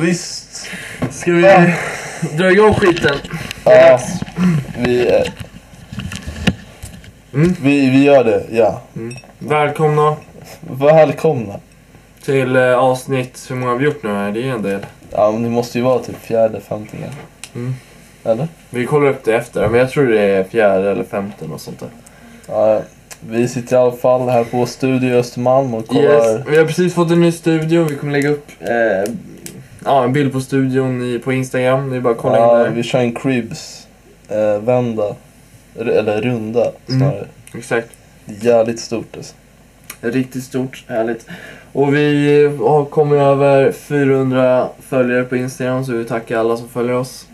Visst. Ska vi dra igång skiten? Ja, vi, eh, Mm. vi, vi gör det, ja. Välkomna Välkomna. till eh, avsnitt, hur många har vi gjort nu? här? Det är en del. Ja, men det måste ju vara typ fjärde, femte igen. Mm. Eller? Vi kollar upp det efter, men jag tror det är fjärde eller femte och sånt där. Ja, vi sitter i alla fall här på Studio Östermalm och kollar. Yes. Vi har precis fått en ny studio, vi kommer lägga upp eh, ja, en bild på studion i, på Instagram. Det är bara att kolla Ja, in där. vi kör en cribs eh, vända. R- eller runda Mm. snarare. Exakt. Det är Jävligt stort alltså. Riktigt stort, härligt. Och vi har kommit över 400 följare på Instagram så vi tackar alla som följer oss.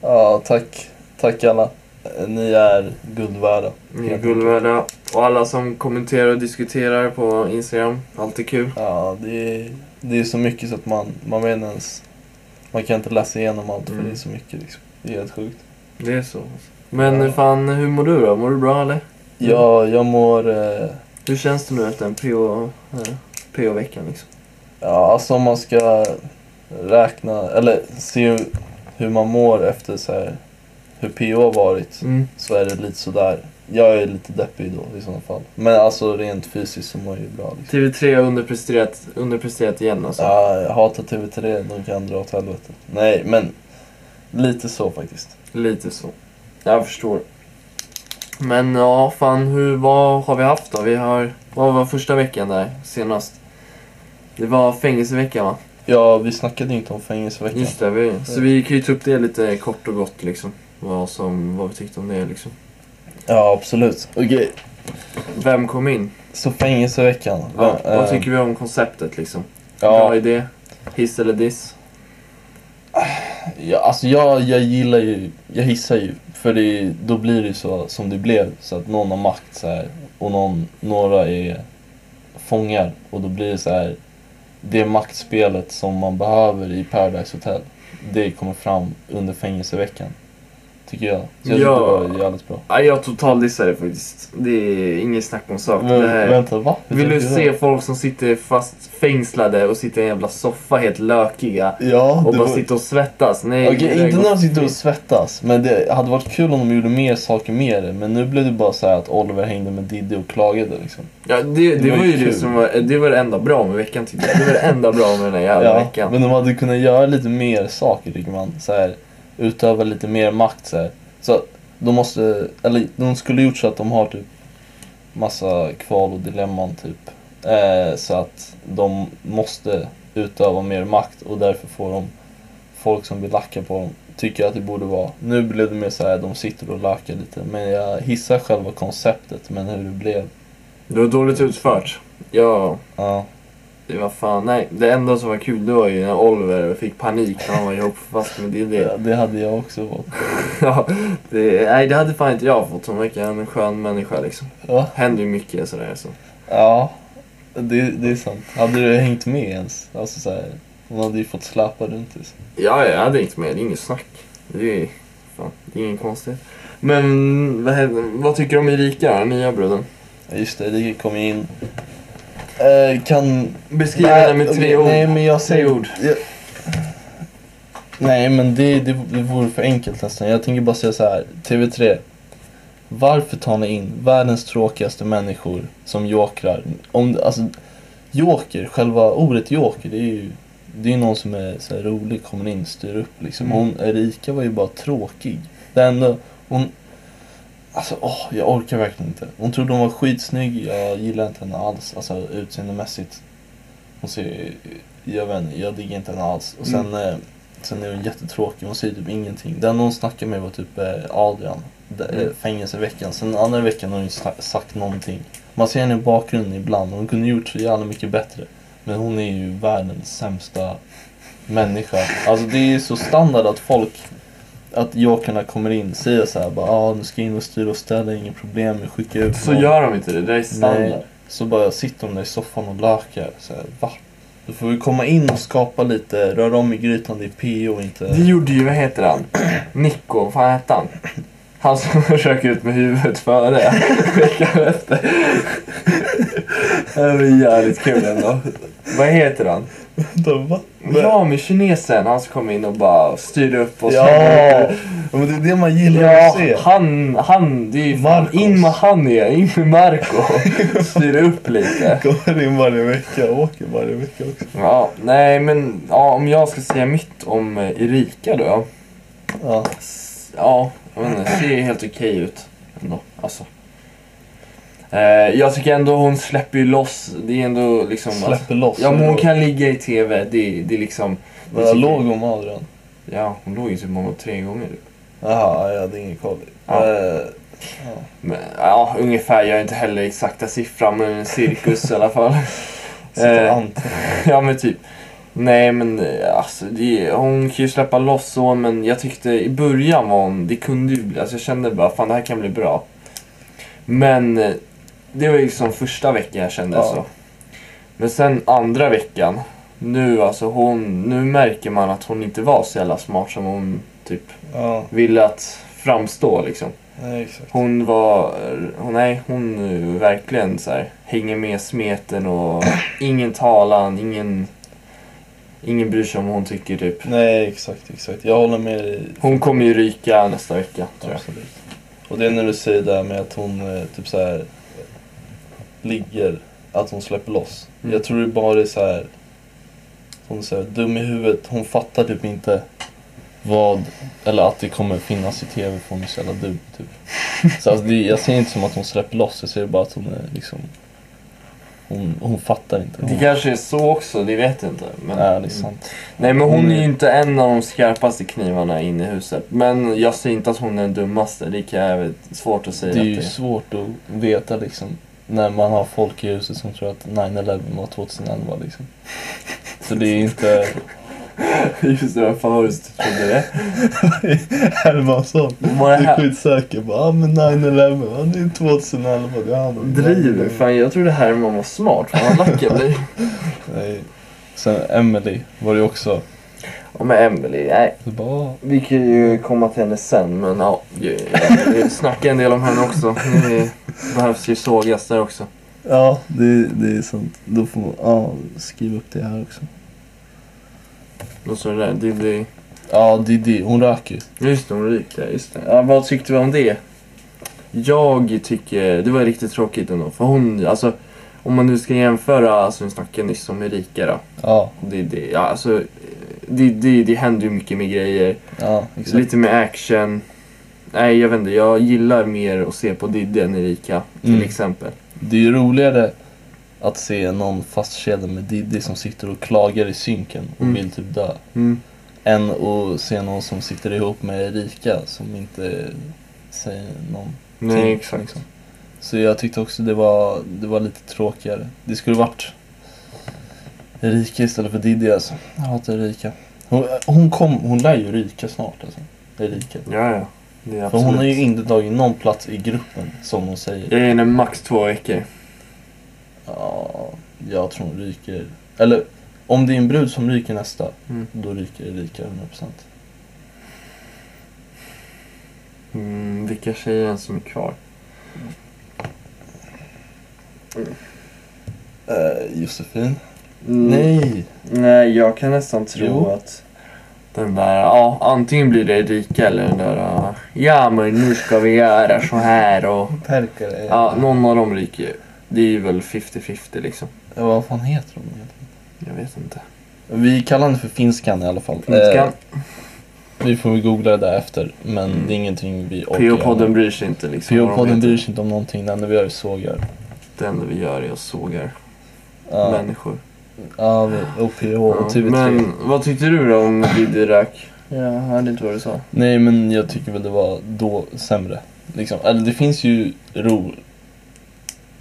Ja, tack. Tack alla. Eh, Ni är guld värda. Ni är guldvärda. Och alla som kommenterar och diskuterar på Instagram. Alltid kul. Ja, det är, det är så mycket så att man, man vet inte ens... Man kan inte läsa igenom allt för Mm. det är så mycket liksom. Det är helt sjukt. Det är så. Men Ja. fan, hur mår du då? Mår du bra eller? Mm. Ja, jag mår... Eh, Hur känns det nu efter en PO, eh, PO-veckan liksom? ja, alltså om man ska räkna, eller se hur, hur man mår efter så här, hur PO har varit, Mm. så är det lite sådär. Jag är lite deppig då i sådana fall. Men alltså rent fysiskt så mår jag ju bra liksom. TV3 har underpresterat, underpresterat igen alltså. Ja, jag hatar TV3, de kan dra åt helvete. Nej, men lite så faktiskt. Lite så. Jag förstår. Men ja, fan hur, vad har vi haft då? Vi har, vad var första veckan där senast? Det var fängelseveckan va? Ja, vi snackade ju inte om fängelseveckan. Just det, vi, Mm. så vi kan ju ta upp det lite kort och gott liksom. Vad, som, vad vi tyckte om det liksom. Ja, absolut. Okej, Vem kom in? så fängelseveckan. Ja, Va- vad eh, tycker vi om konceptet liksom? Bra ja, idé? Hiss eller diss? ja, alltså jag, jag gillar ju, jag hissar ju. För det, då blir det ju så som det blev. Så att någon har makt så här, och någon, några är fångar. Och då blir det så här, det maktspelet som man behöver i Paradise Hotel. Det kommer fram under fängelseveckan. Tycker jag. Så jag Ja. tyckte det var jävligt bra. Nej, jag totaldissar det faktiskt. Det är inget snack om sak. Men, Det här- vänta, va? Hur Vill du tänker se folk som sitter fast fängslade och sitter i en jävla soffa helt lökiga Ja, och det bara var- sitter och svettas? Nej, Okej, det där inte går- när de sitter och svettas, men det hade varit kul om de gjorde mer saker med det. Men nu blev det bara så här att Oliver hängde med Diddy och klagade liksom. Ja, det, det, Det var var ju ju det kul. som var, det var det enda bra med veckan tyckte jag. Det var det enda bra med den här jävla veckan. men de hade kunnat göra lite mer saker tycker man. Så här, utöva lite mer makt så här. Så att de måste, eller de skulle gjort så att de har typ massa kval och dilemman typ. Eh, så att de måste utöva mer makt och därför får de folk som vill lacka på dem tycker att det borde vara. Nu blev det mer så här, de sitter och lackar lite. Men jag hissar själva konceptet, men hur det blev. Det var dåligt utfört. Ja, Ja, det var fan, nej. Det enda som var kul det var ju när Oliver fick panik när han var ihop fast med Diddy. det, det hade jag också fått. Ja, det, nej, det hade fan inte jag fått. Hon verkar en skön människa liksom. Ja. Händer ju mycket sådär så. Ja, det, det är sant. Hade du hängt med ens? Alltså så här, hon hade ju fått släpa runt. Liksom. Ja, jag hade inte med. Det är inget snack. Det är, fan, det är ingen konstighet. Men vad, händer- vad tycker du om Erika, den nya bruden? Ja, Just det, det kom ju in. Eh, kan... Beskriv Nej, henne med tre okej, ord. Nej, men jag Tre säger... ord. Jag, nej, men det, det, det vore för enkelt nästan. Jag tänker bara säga så här. TV3. Varför tar ni in världens tråkigaste människor som jokrar? Om, alltså, joker, själva ordet joker, det är ju det är ju någon som är så här rolig, kommer in, styr upp liksom. Mm. Hon, Erika var ju bara tråkig. Det enda, hon... Alltså, åh, jag orkar verkligen inte. Hon trodde hon var skitsnygg, jag gillar inte henne alls, alltså utseendemässigt. Hon ser, jag vet inte, jag diggar inte henne alls. Och sen, eh, sen är hon jättetråkig, hon säger typ ingenting. Den hon snackade med var typ eh, Adrian, de- eh, Mm. fängelseveckan. Sen den andra veckan har hon ju sna- sagt någonting. Man ser henne i bakgrunden ibland, hon kunde gjort så jävla mycket bättre. Men hon är ju världens sämsta människa. Alltså det är så standard att folk, att jokarna kommer in och säger så här bara ah, nu ska jag in och styra och ställa, inga problem, jag skickar ut Så någon." gör de inte det. Det där är standard. Nej. Så bara sitter de där i soffan och lökar. Så här, va? Då får vi komma in och skapa lite, röra om i grytan, det är PO inte... Det gjorde ju, vad heter han? Nico, vad fan hette han? Han som rök ut med huvudet före veckan efter. Det var jävligt kul ändå. Vad heter han? Vänta, va? Ja, med kinesen. Han som kom in och bara styrde upp och Ja! ja! Men det är det man gillar att Ja, se. han, han, det är ju fan Marcos. in med han igen, in med Marco. Styra upp lite. Kommer in varje vecka, åker varje vecka också. Ja, nej men ja, om jag ska säga mitt om eh, Erika då. Ja. S- Ja, jag vet inte, ser ju helt okej ut ändå. Alltså. Eh, jag tycker ändå hon släpper ju loss. Det är ändå liksom... Alltså, Släpper loss. ja, men hon kan ligga i TV. Det, det är liksom... Men jag låg hon med Adrian? Ja, hon låg ju typ med honom tre gånger. Jaha, jag hade ingen koll. Ja. Eh, Men, ja, ungefär. Jag har inte heller exakta siffran, men en cirkus i alla fall. sitter Eh. Anton. Ja men typ. Nej men eh, alltså det, hon kan ju släppa loss så men jag tyckte i början var hon, det kunde ju bli, alltså jag kände bara fan det här kan bli bra. Men eh, det var ju liksom första veckan jag kände Ja. så. Men sen andra veckan, nu alltså hon, nu märker man att hon inte var så jävla smart som hon typ Ja, ville att framstå liksom. nej, exakt. Hon var, hon, nej hon eh, verkligen så här, hänger med smeten och ingen talan, ingen, ingen bryr sig om vad hon tycker typ. Nej, exakt, exakt. Jag håller med dig. Hon kommer ju ryka nästa vecka tror jag. Absolut. Och det är när du säger det här med att hon eh, typ så här ligger, att hon släpper loss. Mm. Jag tror det bara är så här hon är så här dum i huvudet. Hon fattar typ inte vad, eller att det kommer finnas i TV för hon är så jävla dum typ. Så alltså, det, jag ser inte som att hon släpper loss, jag ser bara att hon är liksom, hon, hon fattar inte. Det Hon, kanske är så också, det vet jag inte. Men, ja, det är sant. Mm. Nej men hon är ju inte en av de skarpaste knivarna in i huset. Men jag säger inte att hon är den dummaste, det kan jag, det är svårt att säga. Det är att ju svårt att veta liksom när man har folk i huset som tror att 9-11 var 2011 liksom. Så det är inte... Just det, varför har du trodde det? Hermansson, Vad är det här? skitsäker bara, ah, men 9-11, han är 2011, det är han. Driver? Fan jag trodde Herman var smart, fan vad lack jag blir. Nej. Sen Emily var det ju också. Ja men Emelie, nej. Så bara, ah, Vi kan ju komma till henne sen, men ja. Vi snackar en del om henne också. Det behövs ju sågas där också. ja, det, det är sant. Då får man ah, skriva upp det här också. Och så det där, det blir... Ja, Didi, hon röker ju. Just det, hon ryker. Just det. Ja, vad tyckte vi om det? Jag tycker... Det var riktigt tråkigt ändå, för hon... Alltså, om man nu ska jämföra, alltså vi snackade nyss om Erika då. Ja, Det, det, ja, alltså, det, det, det händer ju mycket med grejer. ja, exakt. Lite mer action. Nej, jag vet inte. Jag gillar mer att se på Didde än Erika, till Mm. exempel. Det är ju roligare att se någon fastkedjad med Diddy som sitter och klagar i synken och Mm. vill typ dö. Mm. Än att se någon som sitter ihop med Erika som inte säger någonting. Nej, exakt. liksom. Så jag tyckte också det var, det var lite tråkigare. Det skulle varit Erika istället för Diddy alltså. Jag hatar Erika. Hon, hon, kom, hon lär ju ryka snart alltså. Erika. Ja, ja. Det är För absolut. hon har ju inte tagit någon plats i gruppen som hon säger. Jag ger henne max två veckor. Ja, jag tror hon ryker. Eller om det är en brud som ryker nästa, Mm. då ryker Erika 100%. Mm, vilka tjejer ens som är kvar? Eh, Josefin? Nej. Mm. Nej! Mm. Nej, jag kan nästan tro Jo. att den där, ja, antingen blir det Erika eller den där, äh, ja men nu ska vi göra så här och, Perkele? ja, någon av dem ryker ju. Det är ju väl 50-50 liksom. Ja, Eh, vad fan heter hon egentligen? Jag vet inte. Vi kallar henne för Finskan i alla fall. Finskan, Eh, vi får väl googla det där efter, men Mm. det är ingenting vi orkar PH-podden bryr sig inte liksom. vad de PH-podden heter. bryr sig inte om någonting, det enda vi gör är sågar. Det enda vi gör är att sågar Ja, människor. ja, vi- och PH Ja, och TV3. Men vad tyckte du då om Diddy Rack? Jag hörde inte vad du sa. Nej men jag tycker väl det var då sämre. Liksom. Eller det finns ju ro,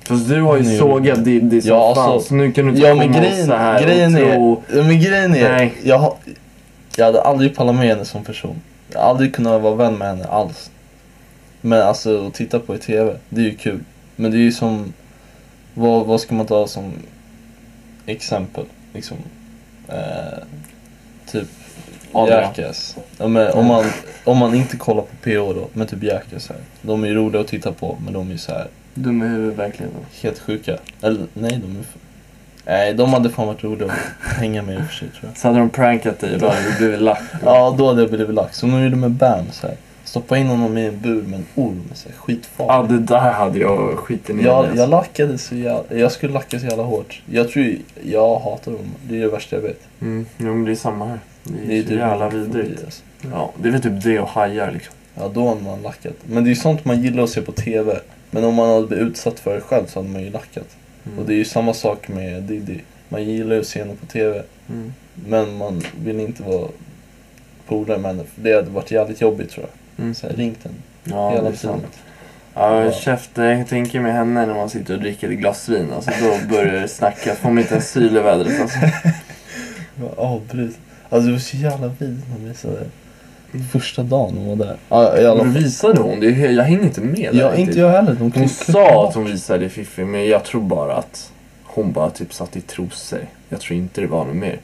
Fast du har ju Nu- sågat Diddy som Ja, fan, alltså- så nu kan du inte Ja komma men och grejen, så här grejen, och är, tro... ja, men grejen är, Nej. jag, har- jag hade aldrig pallat med henne som person. Jag hade aldrig kunnat vara vän med henne alls. Men alltså att titta på i TV, det är ju kul. Men det är ju som, vad, vad ska man ta som exempel? Liksom, Eh, typ Adrian. Jackass. Ja, men om, man, om man inte kollar på PO då, men typ Jackass här. De är ju roliga att titta på, men de är ju så här Dum i huvudet verkligen. helt sjuka. Eller nej, de är för... Nej, de hade fan varit roliga att hänga med i och för sig tror jag. Så hade de prankat dig och då hade du blivit lack. Ja, då hade jag blivit lax. Som de gjorde med Bam så här. Stoppa in honom i en bur med en orm. Så här, skitfarligt. Ja, det där hade jag skitit ner Jag, mig, jag alltså. lackade så jävla... Jag skulle lacka så jävla hårt. Jag tror ju- jag hatar dem. Det är det värsta jag vet. Mm, jo, men det är samma här. Det är, Det är så typ jävla min vidrigt. fobi, alltså. Ja, det är väl typ det och hajar liksom. Ja, då har man lackat. Men det är ju sånt man gillar att se på TV. Men om man hade blivit utsatt för det själv så hade man ju lackat. Mm. Och det är ju samma sak med Diddy. Man gillar ju att se henne på TV. Mm. Men man vill inte vara polare med henne. För det hade varit jävligt jobbigt tror jag. Mm. Så här, ringt henne Ja, det hela är sant. tiden. Ja, Ja. käft, jag tänker med henne när man sitter och dricker ett glas vin. Alltså, då börjar det snacka. Får man inte ens syl i vädret. Alltså. Jag Avbryt. Alltså det var så jävla vidrigt när de visade det. Första dagen hon var där. Ja, i alla Men fall. visade hon? Det är, he- jag hänger inte med. där Mm. typ. Ja, riktigt. inte jag heller. De Hon klippte- sa att hon visade det fiffi, men jag tror bara att hon bara typ satt i trosor. Jag tror inte det var något mer.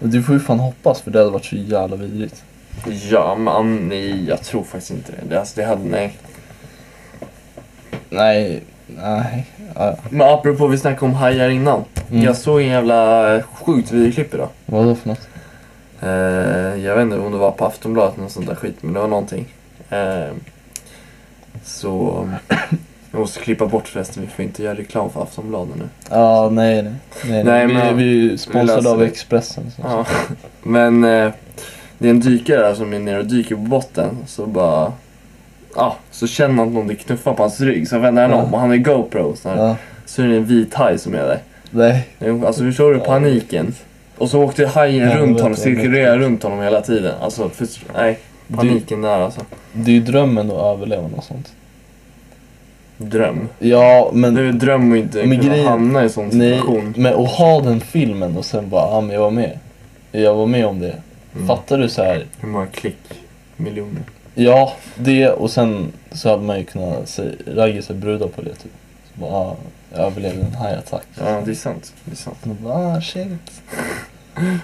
Du får ju fan hoppas för det hade varit så jävla vidrigt. Ja, man, nej, jag tror faktiskt inte det. det. Alltså, det hade, nej. Nej, nej. Ja, Men apropå vi snackade om hajar innan. Mm. Jag såg en jävla eh, sjukt vidrig klipp idag. vadå för något? Eh, jag vet inte om det var på Aftonbladet eller något sånt där skit, men det var någonting. Eh, så... Jag måste klippa bort förresten, vi får inte göra reklam för Aftonbladet nu. Ja, nej nej. Nej, nej, nej. Vi, men- vi är ju vi sponsrade löser av det. Expressen. Så. Ja. Men eh, det är en dykare där som är nere och dyker på botten, så bara... Ja, så känner han att någon knuffar på hans rygg, så vänder han Ja. om och han är GoPro. Så, här. Ja, så är det en vit haj som är där. nej. Alltså förstår du paniken? Och så åkte hajen Ja, jag runt vet, honom, jag vet. cirkulerade runt honom hela tiden. Alltså, för, nej. Du, Paniken där alltså. det är ju drömmen att överleva något sånt. Dröm. Ja, men... Nu drömmer ju inte Men kunna grejen- hamna i en sån Nej, situation. men att ha den filmen och sen bara, ja men jag var med. Jag var med om det. Mm. Fattar du så här? Hur många klick? Miljoner. Ja, det och sen så hade man ju kunnat se- ragga sig brudar på det typ. Så bara, ah, jag överlevde en hajattack. Ja, det är sant. Det är sant. Och bara, ah shit.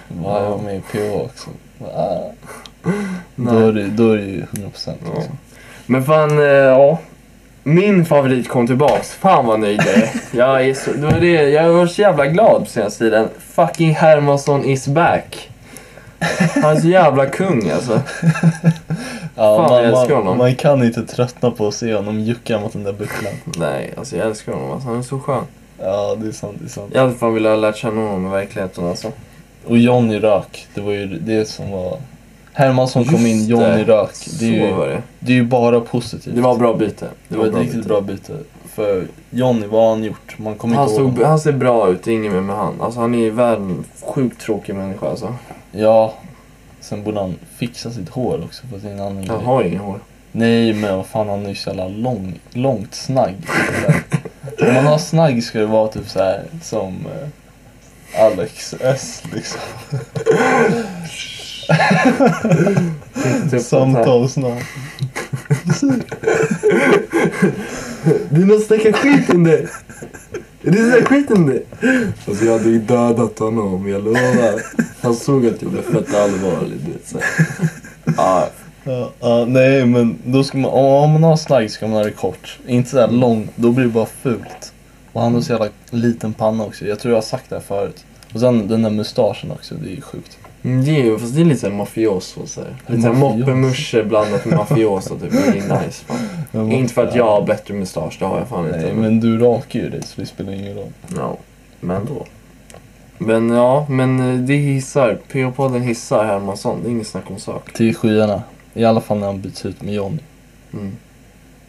Bara, jag var med i PO också. Bara, ah. Då, är det, då är det ju 100% liksom. Ja. Men fan, eh, ja. Min favorit kom tillbaks. Fan vad nöjd jag är. jag är. Så, det var det, jag var så jävla glad på senaste tiden. Fucking Hermansson is back. Han är så jävla kung alltså. Ja, Fan, jag man, älskar man, honom. man kan inte tröttna på att se honom jucka mot den där bucklan. Nej, alltså jag älskar honom. Alltså, han är så skön. Ja, det är sant. Det är sant. Jag hade fan velat lära känna honom i verkligheten alltså. Och Johnny rök, det var ju det som var... Hermansson kom Just in, det. Johnny rök. Det är, så ju, var det. det är ju bara positivt. Det var bra byte. Det var ett riktigt byte. bra byte. För Johnny, vad har han gjort? Man kommer Han, inte ihåg. såg, han ser bra ut, det är inget mer med han. Alltså han är ju världen sjukt tråkig människa alltså. Ja. Sen borde han fixa sitt hår också på sin annan Han grej. har ingen hår. Nej men vad fan han är ju så jävla lång, långt snagg. Om man har snagg ska det vara typ så här som eh, Alex S liksom. Typ Samtalsnamn. Du måste snacka skit om det! Du snackar skit om det! Alltså jag hade ju dödat honom, jag lovar. Han såg att jag blev fett allvarlig. Du vet, så här. Ah. ja, Ja, ja, nej men då ska man, om man har snagg ska man ha det kort. Inte så här långt, då blir det bara fult. Och han har så jävla liten panna också. Jag tror jag har sagt det här förut. Och sen den där mustaschen också, det är ju sjukt. Mm, det är ju, fast det är lite såhär mafioso så här. Lite såhär Mafioso. moppemusche blandat med mafioso typ. Det är nice fan. Men Inte för att jag har bättre mustasch, det har jag fan inte. Nej men du rakar ju dig så det spelar ingen roll. Ja, men då. Men ja, men eh, det hissar. PH-podden hissar Hermansson. Det är inget snack om sak. Till skyarna. I alla fall när han byts ut med Johnny. Mm.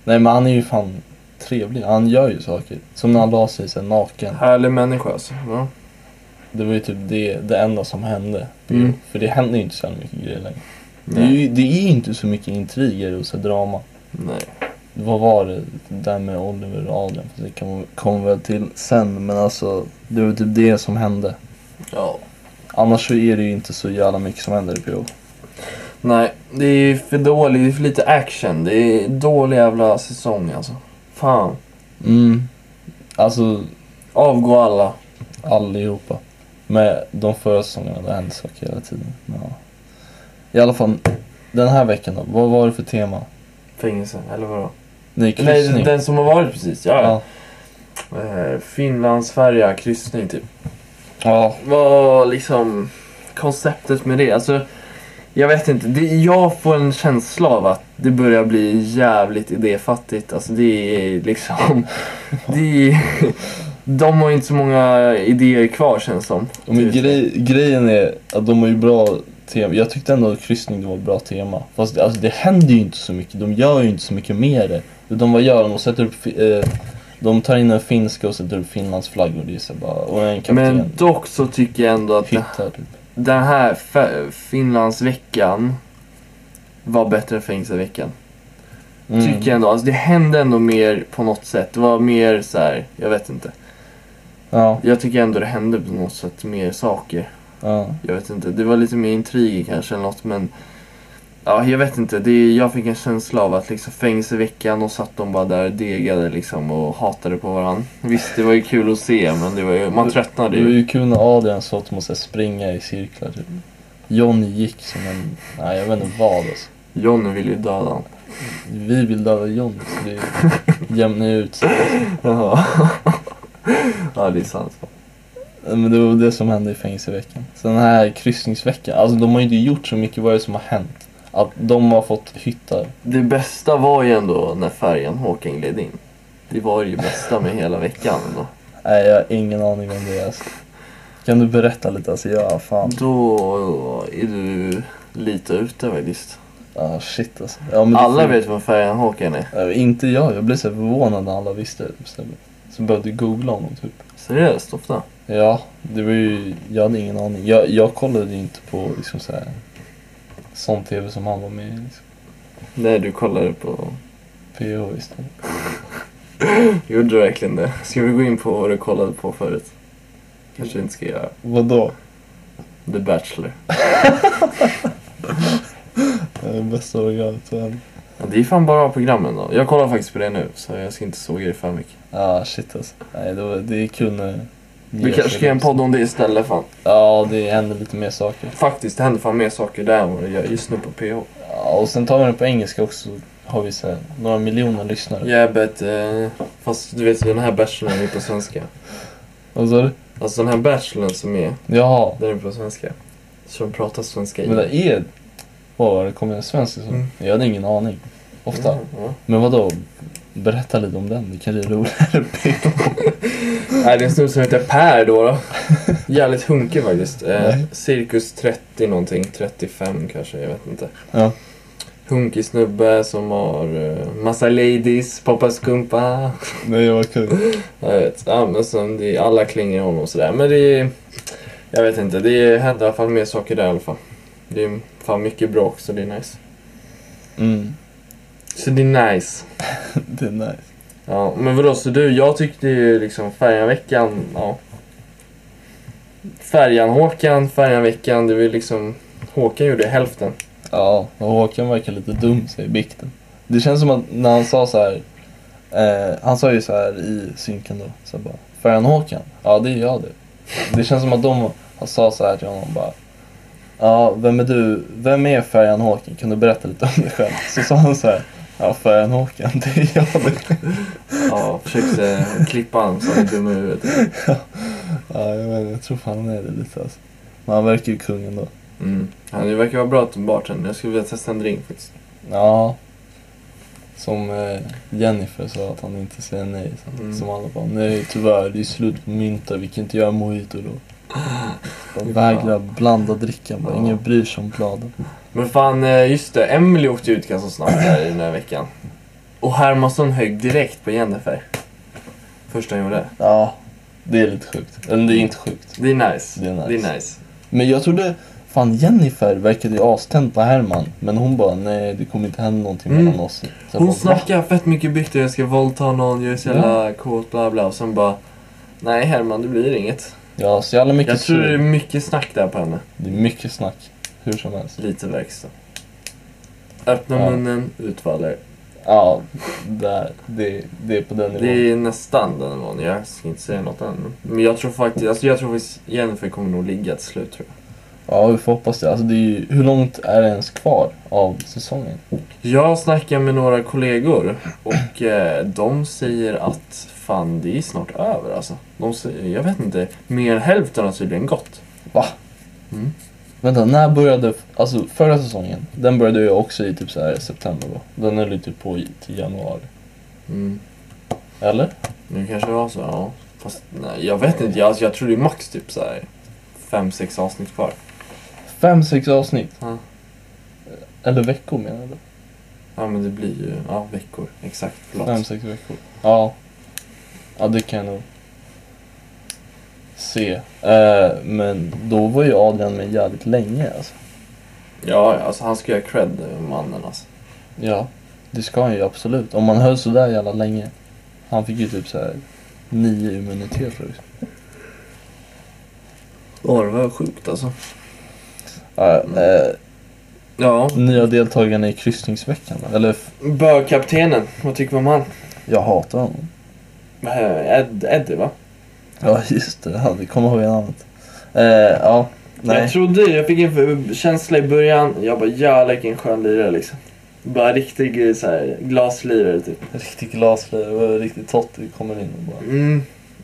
Nej men han är ju fan trevlig. Han gör ju saker. Som när han la sig sen naken. Härlig människa alltså. Ja. Det var ju typ det, det enda som hände. Mm. För det händer ju inte så jävla mycket grejer längre. Det är, Nej. ju, det är ju inte så mycket intriger och så drama. Nej. Vad var det där med Oliver och Adrian? För det kommer kom väl till sen. Men alltså det var typ det som hände. Ja. Annars så är det ju inte så jävla mycket som händer i PO. Nej, det är för dåligt. Det är för lite action. Det är dålig jävla säsong alltså. Fan. Mm. Alltså Avgå alla. allihopa. Med de förra säsongerna, det hände saker hela tiden. Men, ja. I alla fall, den här veckan då, vad var det för tema? Fängelse, eller vadå? Nej, Nej, kryssning. den- den som har varit precis. Ja, ja. ja. Eh, Finlandsfärja, kryssning typ. ja. Vad liksom konceptet med det? Alltså, jag vet inte. Det, jag får en känsla av att det börjar bli jävligt idéfattigt. Alltså det är liksom... Det är, de har inte så många idéer kvar känns som. Typ. Och Men grej, grejen är att de har ju bra tema. Jag tyckte ändå att kryssning det var ett bra tema. Fast det, alltså, det händer ju inte så mycket. De gör ju inte så mycket med det. Utan vad gör de? De sätter upp... fi- Eh, de tar in en finska och sätter upp Finlands flaggor. Det är så bara... Och en kapten. Men dock så tycker jag ändå att Hittar typ. den här fe- Finlandsveckan var bättre än fängelseveckan. Mm. Tycker jag ändå. Alltså det hände ändå mer på något sätt. Det var mer så här, jag vet inte. Ja, Jag tycker ändå det hände på något sätt mer saker. ja. Jag vet inte, det var lite mer intriger kanske eller något men Ja, jag vet inte. Det, jag fick en känsla av att liksom fängelseveckan och satt de bara där och degade liksom och hatade på varandra. Visst, det var ju kul att se men det var ju, man tröttnade Det var ju. ju kul när Adrian sa att de måste springa i cirklar typ. Johnny gick som en... Nej, jag vet inte vad alltså. Johnny ville ju döda honom. Vi vill döda Johnny så det jämnar ju ut sig. Jaha. ja, det är sant. Men det var det som hände i fängelseveckan. Så den här kryssningsveckan, alltså de har ju inte gjort så mycket vad det är som har hänt. Att de har fått hyttar. Det bästa var ju ändå när färjan Håkan gled in. Det var ju det bästa med hela veckan ändå. Nej, jag har ingen aning om det alltså. Kan du berätta lite? Alltså ja, fan. Då är du lite ute faktiskt. Ah, shit alltså. Ja, men det Alla får- vet vem färjan Håkan är. Ja, Inte jag, jag blev så här förvånad när alla visste det. Så jag- Så behövde jag googla honom typ. Seriöst, ofta. Ja, det var ju, jag hade ingen aning. Jag, jag kollade ju inte på liksom så här, sån tv som han var med i. Liksom. Nej, du kollade på... PH istället. Gjorde du verkligen det? Ska vi gå in på vad du kollade på förut? Kanske vi inte ska göra. Vadå? The Bachelor. Det är det bästa organet för henne. Ja, det är fan bara programmen då. Jag kollar faktiskt på det nu, så jag ska inte såga det för mycket. Ja, ah, shit alltså. Nej, det, var, det är kul när... Vi kanske ska göra en podd om det istället fan. Ja, det händer lite mer saker. Faktiskt, det händer fan mer saker där än vad det gör just nu på PH. Ja, och sen tar vi den på engelska också. Har vi så här, några miljoner lyssnare. Yeah, but, eh, fast du vet den här bachelorn är på svenska. Vad sa du? Alltså den här bachelorn som är, Jaha. den är på svenska. Som pratar svenska i. Men det är... Vad var det? Kom det en svensk? Liksom? Mm. Jag hade ingen aning. Ofta. Mm, ja. Men vadå? Berätta lite om den. Det kanske är roligare. Nej, det är en snubbe som heter Per då. då. Jävligt hunkig faktiskt. Eh, Nej. cirkus 30 någonting, 35 kanske, jag vet inte. ja. Hunkig snubbe som har eh, massa ladies, poppa skumpa. Nej, vad kul. Jag vet, ja, men sen det, alla klingar honom och sådär. Men det är, jag vet inte, det händer i alla fall mer saker där i alla fall. Det är fan mycket bråk så det är nice. Mm. Så det är nice. Det är nice. Ja, men vadå, så du, jag tyckte ju liksom Färjanveckan, ja. Färjan-Håkan, Färjanveckan, det var ju liksom, Håkan gjorde hälften. Ja, och Håkan verkar lite dum, säger bikten. Det känns som att när han sa så här. Eh, han sa ju så här i synken då. Så här bara, Färjan Håkan? Ja, det är jag det. Det känns som att de har- sa så här till honom bara. Ja, vem är du? Vem är Färjan Håkan? Kan du berätta lite om dig själv? Så sa han så här. Ja, Färjan Håkan, det är jag det. Ja, försökte klippa honom så han är dum i huvudet. Ja, jag, vet, jag tror fan han är det lite alltså. Men han verkar ju kungen då. Mm. Ja, det verkar vara bra till bartender, jag skulle vilja testa en drink faktiskt. Ja. Som eh, Jennifer sa att han inte säger nej. Så, Mm. Som alla bara, nej tyvärr det är slut på mynta, vi kan inte göra mojito då. De Ja. vägrar blanda drickan, bara, Ja. ingen bryr sig om bladen. Men fan, eh, just det, Emily åkte ut ganska snabbt där i den här veckan. Och Hermansson högg direkt på Jennifer. Första han gjorde. Ja, det är lite sjukt. Eller det är inte sjukt. Det är nice. Det är nice. Det är nice. Men jag trodde, fan Jennifer verkade ju aständ på Herman. Men hon bara, nej det kommer inte hända någonting Mm. mellan oss. Så jag Hon bara, "Va?" snackar fett mycket bygder, jag ska våldta någon, jag är så jävla kåt, bla bla. Och sen bara, nej Herman det blir inget. Ja, så jävla mycket Jag tror det är sur. mycket snack där på henne. Det är mycket snack. Hur som helst. Lite verkstad. Öppna Ja. munnen, utfaller. Ja, där, det, det är på den nivån. Det är nästan den nivån, jag ska inte säga något än. Men jag tror faktiskt, alltså jag tror faktiskt Jennifer kommer nog ligga till slut tror jag. Ja, vi får hoppas det. Alltså, det är ju, hur långt är det ens kvar av säsongen? Jag snackar med några kollegor och eh, de säger att fan det är snart över alltså. De säger, jag vet inte, mer än hälften har tydligen gått. Va? Mm. Vänta, när började... Alltså förra säsongen, den började ju också i typ så här september va? Den höll ju typ på i, till januari. Mm. Eller? Nu kanske det var så, ja. Fast nej, jag vet inte, jag, alltså, jag tror det är max typ så här fem, sex avsnitt kvar. Fem, sex avsnitt. Ja. Eller veckor menar du? Ja men det blir ju, ja veckor, exakt. Förlåt. Fem, sex veckor. Ja. Ja, det kan jag nog se. Eh, men då var ju Adrian med jävligt länge alltså. Ja, ja, alltså han ska ju ha cred, mannen alltså. Ja, det ska han ju absolut. Om man höll sådär jävla länge. Han fick ju typ såhär nio immunitet för det. Ja, det var sjukt alltså. Ja, eh, Ja. nya deltagarna i kryssningsveckan då? Eller f- Bögkaptenen, vad tycker vi om han? jag hatar honom. Eh, Ed, Eddie va? Ja just det, han, vi kommer ihåg namnet. Eh, ja, Jag nej. trodde, jag fick en för- känsla i början, jag bara jävlar vilken skön lirare liksom. Bara riktig eh, så här, glaslirare typ. Riktigt glasfri, det var riktigt tott. Vi kommer in och bara... Mm.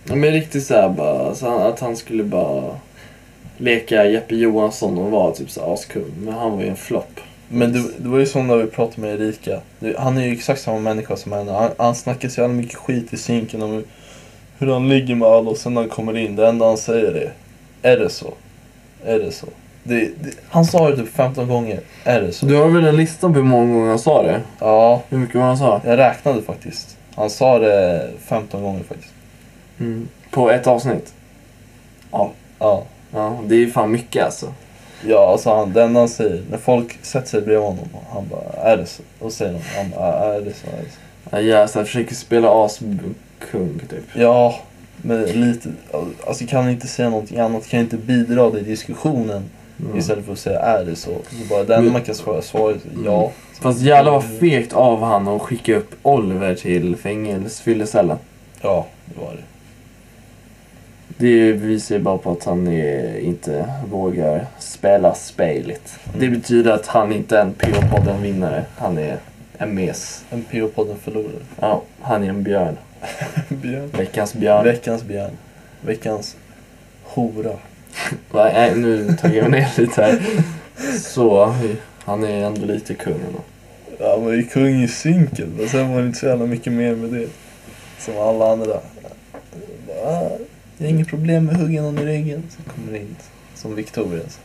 Ja, Men riktigt så här bara, så han, att han skulle bara leka Jeppe Johansson och vara typ så här askung. Men han var ju en flopp. Men det, det var ju som när vi pratade med Erika. Det, han är ju exakt samma människa som henne. Han, han snackar så jävla mycket skit i sinken om hur, hur han ligger med alla och sen när han kommer in, det enda han säger är Är det så? Är det så? Det, det, han sa det typ 15 gånger. Är det så? Du har väl en lista på hur många gånger han sa det? Ja, Hur mycket han sa? jag räknade faktiskt. Han sa det 15 gånger faktiskt. Mm. På ett avsnitt? Ja, Ja, det är ju fan mycket alltså. ja alltså han, det enda han säger, när folk sätter sig bredvid honom, han bara Är det så? Och säger de, han bara, är det så? Är det så? Ja, jag så här, försöker spela askung typ. Ja, men lite. Alltså kan inte säga någonting annat? Kan inte bidra till diskussionen Mm. istället för att säga är det så? så bara, det enda Men- Mm. man kan svara svaret är ja. Fast jävlar vad fegt av han att skicka upp Oliver till fängelsefyllecellen. Ja, det var det. Det visar ju bara på att han är, inte vågar spela spelet. Det betyder att han inte är en PH-podden-vinnare. Han är en mes. En PH-podden förlorare. Ja, han är en björn. Björn. Veckans björn. Veckans björn. Veckans hora. Va, Nej, nu tar jag ner lite här. Så, han är ändå lite kung ändå. Ja, han var ju kung i sinken. Men sen var det inte så jävla mycket mer med det. Som alla andra. Bara, "Ah, jag har inget problem med att hugga någon i ryggen. Så kommer det in som Victoria. Så.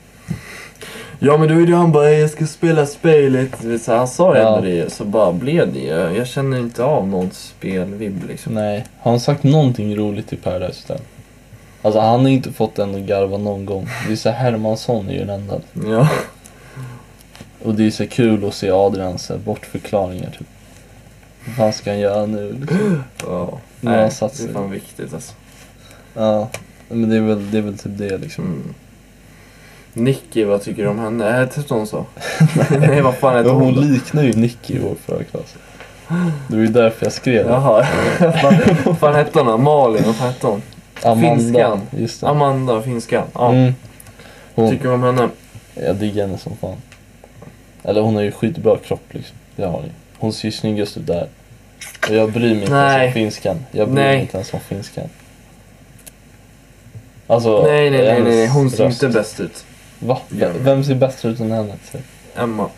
Ja men då är det han bara jag ska spela spelet. Du vet, så här, Han sa ju Ja. ändå det så bara blev det. Jag, jag känner inte av någon spelvibb liksom. Nej, har han sagt någonting roligt i Paradise Hotel? Alltså han har inte fått den att garva någon gång. Det är så här, Hermansson är ju den enda. Ja. Och det är så kul att se Adrians så här bortförklaringar typ. Vad fan ska han göra nu? Liksom. ja. Nu har Nej, han det satt sig. är fan viktigt alltså. Ja, men det är väl, det är väl typ det liksom. Mm. Nicky, vad tycker du om henne? Hette hon så? Nej vad fan hette Men hon? hon då? liknar ju Nicky i vår förra klass. Det var ju därför jag skrev det. Jaha. Fan- Vad fan hette hon då? Malin, vad fan hette hon? Amanda. Finskan. Just det. Amanda, finskan. Ja. Mm. Vad Hon, Tycker du om henne? jag diggar henne som fan. Eller hon har ju skitbra kropp liksom. Det har hon ju. Hon ser ju snyggast ut där. Och jag bryr mig inte ens Nej. om finskan. Jag bryr Nej. mig inte ens om finskan. Alltså, nej, nej, nej, hennes nej, nej. Hon ser röst. inte bäst ut. Va? Ja. Vem ser bättre ut än henne? Så, Emma.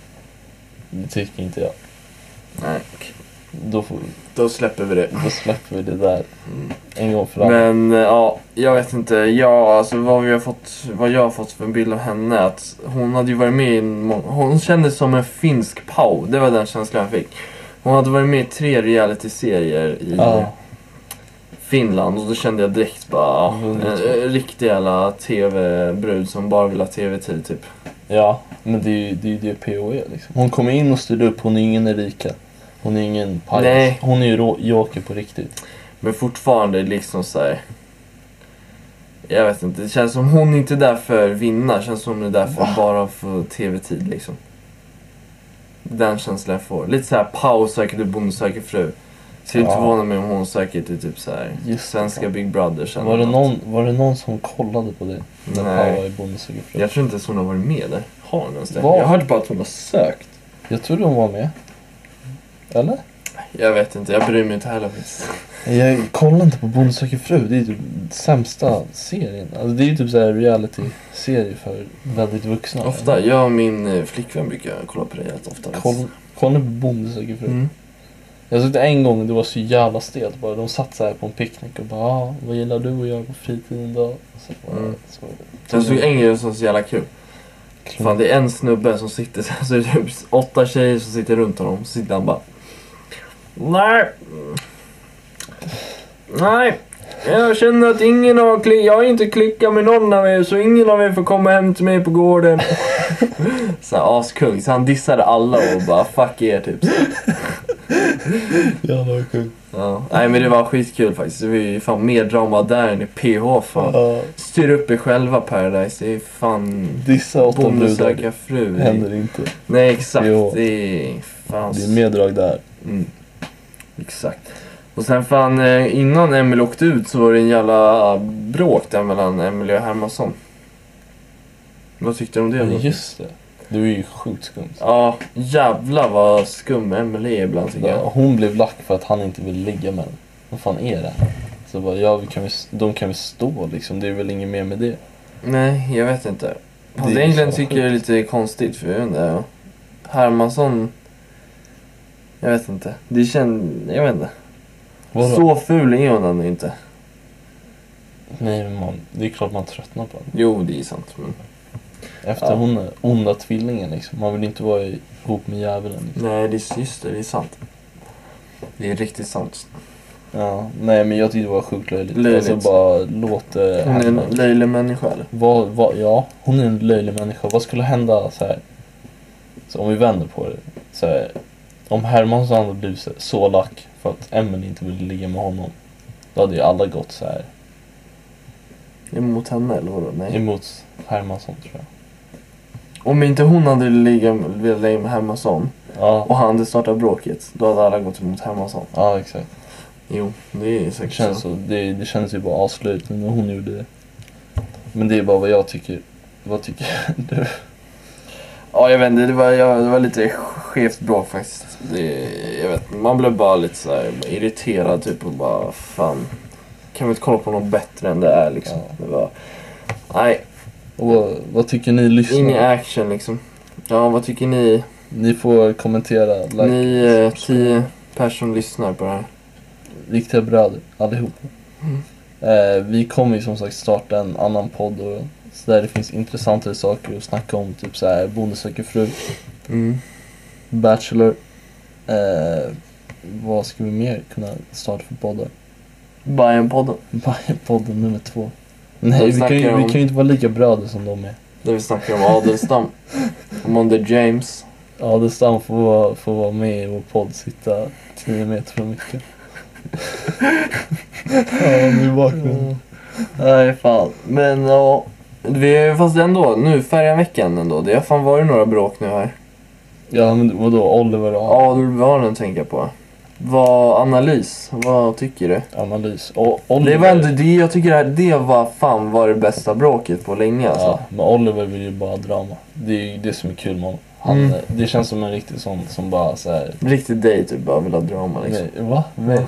Det tycker inte jag. Nej, okej. Då, får, Då släpper vi det. då släpper vi det där. En gång för alla. Men eh, ja, jag vet inte. Ja, alltså vad, vi har fått, vad jag har fått för en bild av henne är att hon hade ju varit med i en må- Hon kändes som en finsk Pau. Det var den känslan jag fick. Hon hade varit med i tre realityserier i Ja. Finland och då kände jag direkt bara ja, en, en riktig jävla TV-brud som bara vill ha TV-tid typ. Ja, men det är ju det, är ju det PO är liksom. Hon kommer in och styrde upp, hon är ingen Erika. Hon är ingen pajas. Nej. Hon är ju rå- joker på riktigt. Men fortfarande liksom så här. Jag vet inte, det känns som hon inte är där för att vinna. Det känns som hon är där för Va? bara för TV-tid liksom. Den känslan jag får. Lite såhär Pau söker du bonde söker fru. Skulle inte Ja. förvåna mig om hon söker till typ såhär Just det, svenska ja. Big Brother sen. Var det, någon, var det någon som kollade på det? När Nej. Pau var i Bonde söker fru? Jag tror inte ens hon har varit med där. Har hon ens det? Vad? Jag hörde bara att hon har sökt. Jag trodde hon var med. Eller? Jag vet inte, jag bryr mig inte heller faktiskt. Jag kollar inte på Bonde söker fru. Det är typ sämsta serien. Alltså det är ju typ såhär reality-serie för väldigt vuxna. Ofta, jag och min eh, flickvän brukar kolla på det rätt ofta. Koll, kolla på Bonde söker fru. Mm. Jag tyckte en gång det var så jävla stelt bara. De satt så här på en picknick och bara ah, vad gillar du att göra på fritiden då? Och så bara, Mm. så, Typ. Jag såg Mm. en grej som var så jävla kul. Fan det är en snubbe som sitter så här, så är det typ åtta tjejer som sitter runt honom. Så sitter han bara. Nej. Nej. Jag känner att ingen av kli- jag har inte klickat med någon av er så ingen av er får komma hem till mig på gården. så här, askung. Så han dissade alla och bara fuck er typ. Så, Jävlar vad sjukt. ja. Nej men det var skitkul faktiskt. Det var ju fan mer drama där än i PH fan. Ja, Styr upp er själva Paradise. Det är fan... Dissa åtta Bonde brudar. söka fru. Det är- Händer inte. Nej exakt, Jo. det är fan... Det är meddrag där. Mm. Exakt. Och sen fan eh, innan Emil åkte ut så var det en jävla bråk där mellan Emil och Hermansson. Vad tyckte du om det? Ja, då? just det. Du är ju sjukt skumt. Ja, jävlar vad skum Emil är ibland tycker jag. Ja, hon blev lack för att han inte ville ligga med henne. Vad fan är det här? Så bara, ja, vi kan väl, de kan väl stå liksom. Det är väl inget mer med det. Nej, jag vet inte. Det är Fast egentligen så tycker jag det är lite konstigt för jag vet inte. Hermansson... Jag vet inte. Det känns... Jag vet inte. Vadå? Så ful är hon ändå inte. Nej men man, det är klart man tröttnar på henne. Jo, det är sant. Men... Efter Ja. hon är onda tvillingen liksom. Man vill inte vara ihop med djävulen. Liksom. Nej, det är, just det. Det är sant. Det är riktigt sant. Ja, nej men jag tyckte det var sjukt löjligt. Löjligt. Alltså bara låt det Hon är en hända. löjlig människa eller? Vad, vad, ja, hon är en löjlig människa. Vad skulle hända så här? Så om vi vänder på det. Så här, om Hermansson hade blivit så- så lack för att Emily inte ville ligga med honom. Då hade ju alla gått så här Emot henne eller vadå? Nej. emot Hermansson tror jag. Om inte hon hade ligga- velat ligga med Hermansson Ja, och han hade startat bråket, då hade alla gått emot Hermansson. ja exakt. Jo, det är Det säkert känns, så. så, det, det känns ju bara avslut när hon gjorde det. Men det är bara vad jag tycker. Vad tycker du? Ja, jag vet inte. Det var, ja, det var lite skevt bråk faktiskt. Det, jag vet, man blev bara lite så här irriterad typ och bara fan. Kan vi inte kolla på något bättre än det är liksom? Ja. Det var, nej, Och vad, vad tycker ni ingen lyssnare? action liksom. Ja, vad tycker ni? Ni får kommentera. Like, Ni eh, tio personer lyssnar på det här. riktiga bröder allihop. Mm. Eh, vi kommer ju som sagt starta en annan podd och, så där det finns intressantare saker att snacka om. Typ så här Bonde söker fru, Mm. Bachelor. Eh, vad ska vi mer kunna starta för poddar? Bajenpodden. Podden nummer två. Nej, vi kan, ju, snackar vi om- kan ju inte vara lika bröder som de är. Där vi snackar om Adelstam. om Monday James. Adelstam får vara, får vara med i vår podd, sitta 10 meter från mycket. ja, nu vaknar Mm. Nej fan. Men ja. Vi, fast ändå, nu Färjan-veckan ändå. Det har fan varit några bråk nu här. Ja, men vadå? Oliver och Adelbarnen tänker jag på. Vad, analys, vad tycker du? Analys. Och Det Oliver, var ändå det jag tycker det, här, det var fan var det bästa bråket på länge alltså. ja, men Oliver vill ju bara drama. Det är ju det som är kul med honom. Han, Mm. eh, Det känns som en riktig sån som bara såhär... Riktigt dig typ, bara vill ha drama liksom. Nej, va? Nej.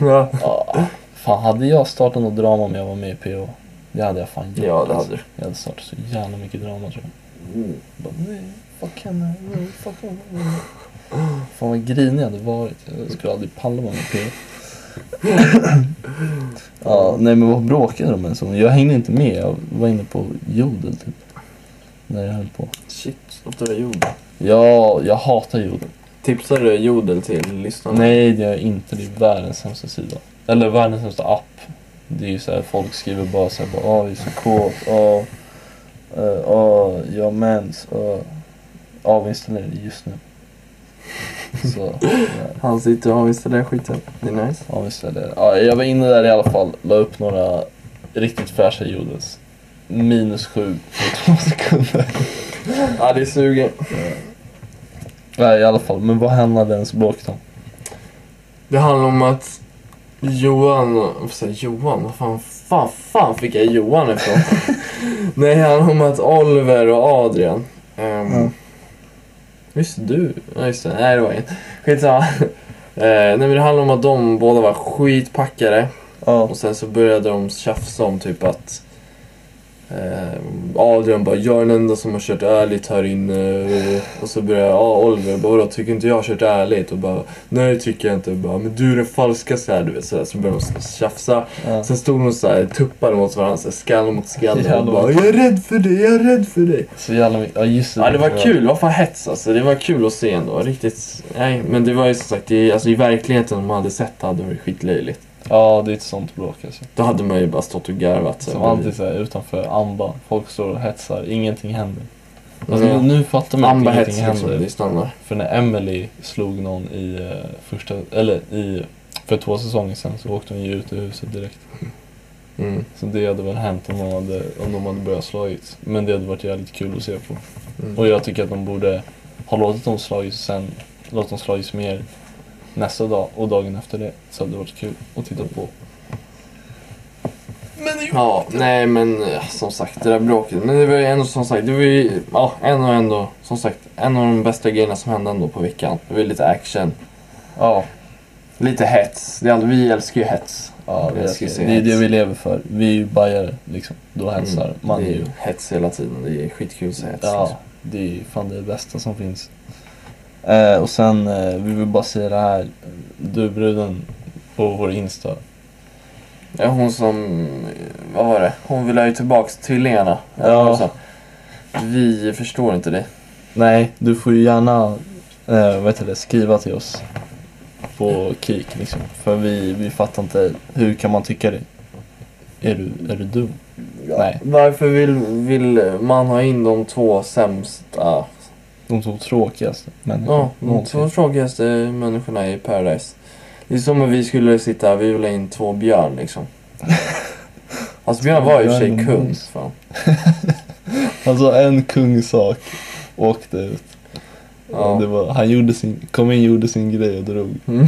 Ja, Ja, fan, hade jag startat något drama om jag var med i PO? Det hade jag fan gjort. ja det hade alltså. du. Jag hade startat så jävla mycket drama tror jag. Mm. Bara, nej, fuck henne, nej, fuck henne. nej." Fan vad grinig jag hade varit. Jag skulle aldrig palla vara med i PO. Ja, nej men vad bråkade de ens om? Jag hängde inte med. Jag var inne på jodel typ. När jag höll på. Shit, låter det jodel. Ja, jag hatar jodel. Tipsar du jodel till lyssnarna? Nej, det gör jag inte. Det är världens sämsta sida. Eller världens sämsta app. Det är ju såhär, folk skriver bara såhär bara åh, jag är så kåt, åh, eh, åh, jag har mens, åh. Avinstallerade ah, just nu. Så, ja, Han sitter och avvisar den skiten. Det är nice. avinstallerade. Ja, jag var inne där i alla fall, la upp några riktigt fräscha jodels. Minus sju på två sekunder. Ja, det suger. Nej, i alla fall. Men vad handlade ens bråk om? Det handlar om att Johan, vad säger jag, Johan, vad fan, fan, fan fick jag Johan ifrån? Nej, det handlar om att Oliver och Adrian. ehm, Mm. Visst du? Ja, just det. Nej, det var inget. Skitsamma. Eh, nej, men det handlar om att de båda var skitpackade. Ja. Och sen så började de tjafsa om typ att eh, Adrian bara “Jag är den enda som har kört ärligt här inne” och så började ja, Oliver bara “Vadå, tycker inte jag har kört ärligt?” och bara “Nej, det tycker jag inte” och bara “Men du är den falskaste här” du vet sådär. Så började de tjafsa. ja. Sen stod de såhär tuppade mot varandra, såhär, skalle mot skalle och Jävlar. bara “Jag är rädd för dig, jag är rädd för dig”. Så jävla mycket. Ja, just det. Ja, det var kul. Det var fan hets alltså. Det var kul att se ändå. Riktigt. Nej, men det var ju som sagt, det, alltså, i verkligheten om man hade sett det hade det varit skitlöjligt. Ja, det är ett sånt bråk alltså. Då hade man ju bara stått och garvat. så här, Som bredvid. alltid såhär utanför Amba. Folk står och hetsar. Ingenting händer. Alltså, Ja. nu, nu fattar man Amba att hets ingenting liksom, händer. det stannar. För när Emily slog någon i eh, första... Eller i... För två säsonger sedan så åkte hon ju ut ur huset direkt. Mm. Så det hade väl hänt om, hon hade, om de hade börjat slagits. Men det hade varit jävligt kul att se på. Mm. Och jag tycker att de borde ha låtit dem slagits sen låtit dem slagits mer nästa dag och dagen efter det. Så hade det varit kul att titta på. Ja, nej men eh, som sagt det där bråket. Men det var ju ändå som sagt, det var ju ja, en och ändå, som sagt, en av de bästa grejerna som hände ändå på veckan. Det var ju lite action, Ja, lite hets. Det är, all- vi älskar ju hets. ja Jag det, ska älskar se jag. det är det hets. vi lever för. Vi är ju bajare liksom. Då hälsar Mm. man det är ju. ju hets hela tiden, det är skitkul att se hets. Ja, liksom. det är ju fan det bästa som finns. Eh, och sen, eh, vi vill bara säga det här. Du bruden på vår Insta. Ja, hon som, eh, vad var det, hon ville ha ju tillbaks tvillingarna. Eller Ja. vad hon sa. Vi förstår inte det. Nej, du får ju gärna eh, vad heter det, skriva till oss på Kik liksom. För vi, vi fattar inte, hur kan man tycka det? Är du, är du dum? Nej, Varför vill, vill man ha in de två sämsta de två tråkigaste Ja, de någonsin. två tråkigaste människorna i Paradise. Det är som om vi skulle sitta här, vi vill ha in två björn liksom. Alltså Björn var ju i och för sig Björn och kung. Måns. Fan. Alltså en kungsak åkte ut. Ja. Det var, han gjorde sin, kom in, gjorde sin grej och drog. Mm.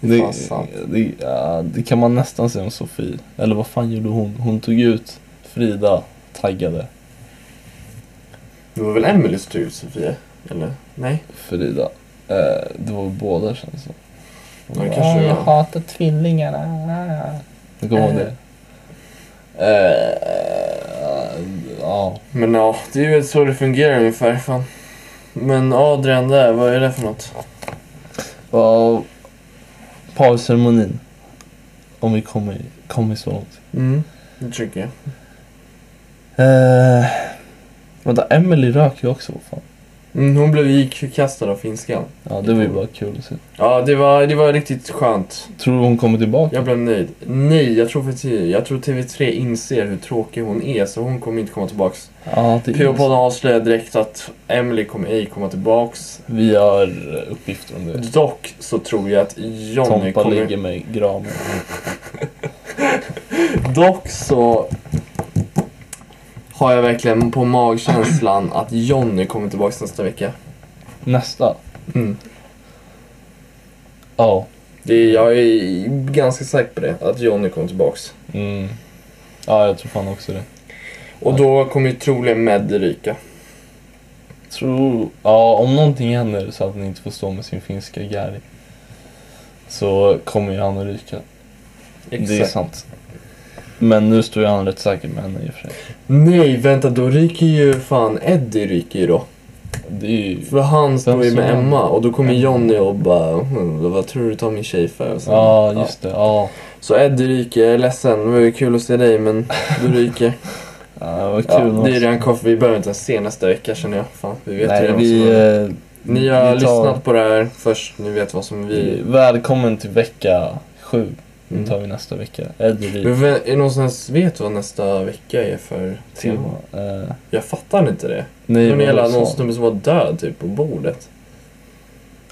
Det är Det, fan sant. det, ja, det kan man nästan säga om Sofie. Eller vad fan gjorde hon? Hon tog ut Frida, taggade Det var väl Emily som tog ut Sofia? Eller? Nej? Frida. Eh, det var båda känns det som. Hon Ja, det bara, kanske "Ah, det jag var." hatar tvillingarna. Du kommer ihåg det? Eh, Ja. Men ja, det är väl så det fungerar ungefär. Fan. Men Adrian där, vad är det för något? Och Parceremonin. Om vi kommer, kommer så långt. Mm. Det tycker jag. Eh, vänta, Emily rök ju också. vad Fan. Mm, hon blev ju förkastad av finskan. Ja, det var ju bara kul att se. Ja, det var, det var riktigt skönt. Tror du hon kommer tillbaka? Jag blev nöjd. Nej, jag tror, faktiskt- jag tror TV3 inser hur tråkig hon är så hon kommer inte komma tillbaks. Ja, det är PH-podden avslöjar direkt att Emily kommer ej komma tillbaks. Vi har eh, uppgifter om det. Dock så tror jag att Johnny Tompa kommer... ligger med granen. Dock så har jag verkligen på magkänslan att Johnny kommer tillbaks nästa vecka. Nästa. Mm. Ja. Det är, jag är ganska säker på det, att Johnny kommer tillbaks. Mm. Ja, jag tror fan också det. Och då kommer ju troligen Med ryka. Tror... Ja, om någonting händer så att han inte får stå med sin finska Gary. Så kommer ju han att ryka. Det är sant. Men nu står ju han rätt säker med henne i och för sig. Nej, vänta, då ryker ju fan Eddie ryker ju då. Det är ju... För han står ju som med han? Emma och då kommer Johnny och bara "Hmm, vad tror du tar min tjej för? Och sen- Ja, just det. Ja. Så Eddie ryker, jag är ledsen, det var ju kul att se dig men du ryker. ja vad kul. ja, det är redan kaffe, vi behöver inte ens se nästa vecka känner jag. Fan, vi vet Nej, redan vad vi... som händer. eh, Ni har vi tar- lyssnat på det här först, ni vet vad som vi... Välkommen till vecka sju. Den Mm. tar vi nästa vecka. Eddie Rik. Men vä- är någonstans, vet du vad nästa vecka är för tema? Eh, Jag fattar inte det. nej, Det var vad hela var någon det som- snubbe som var död typ på bordet.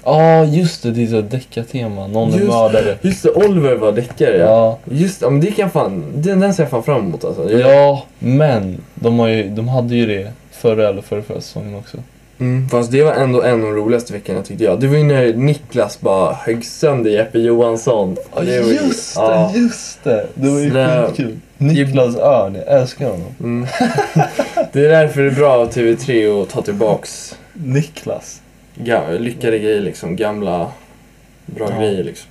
Ja, just det. Det är så här deckartema. Någon är Just- mördare. Just det, Oliver var däckare ja. Ja. Just det, ja, men det kan fan, den, den ser jag fan fram emot alltså. ja, men de, har ju, de hade ju det förra eller förra, förra säsongen också. Mm, fast det var ändå en av de roligaste veckorna tyckte jag. Det var ju när Niklas bara högg sönder Jeppe Johansson. Ja, Det var ju- just det, ja. just det! Det var ju Snälla. skitkul. Niklas Örn, jag älskar honom. Mm. Det är därför det är bra av TV3 att ta tillbaks Niklas. ga- lyckade grejer liksom. Gamla bra Ja. grejer liksom.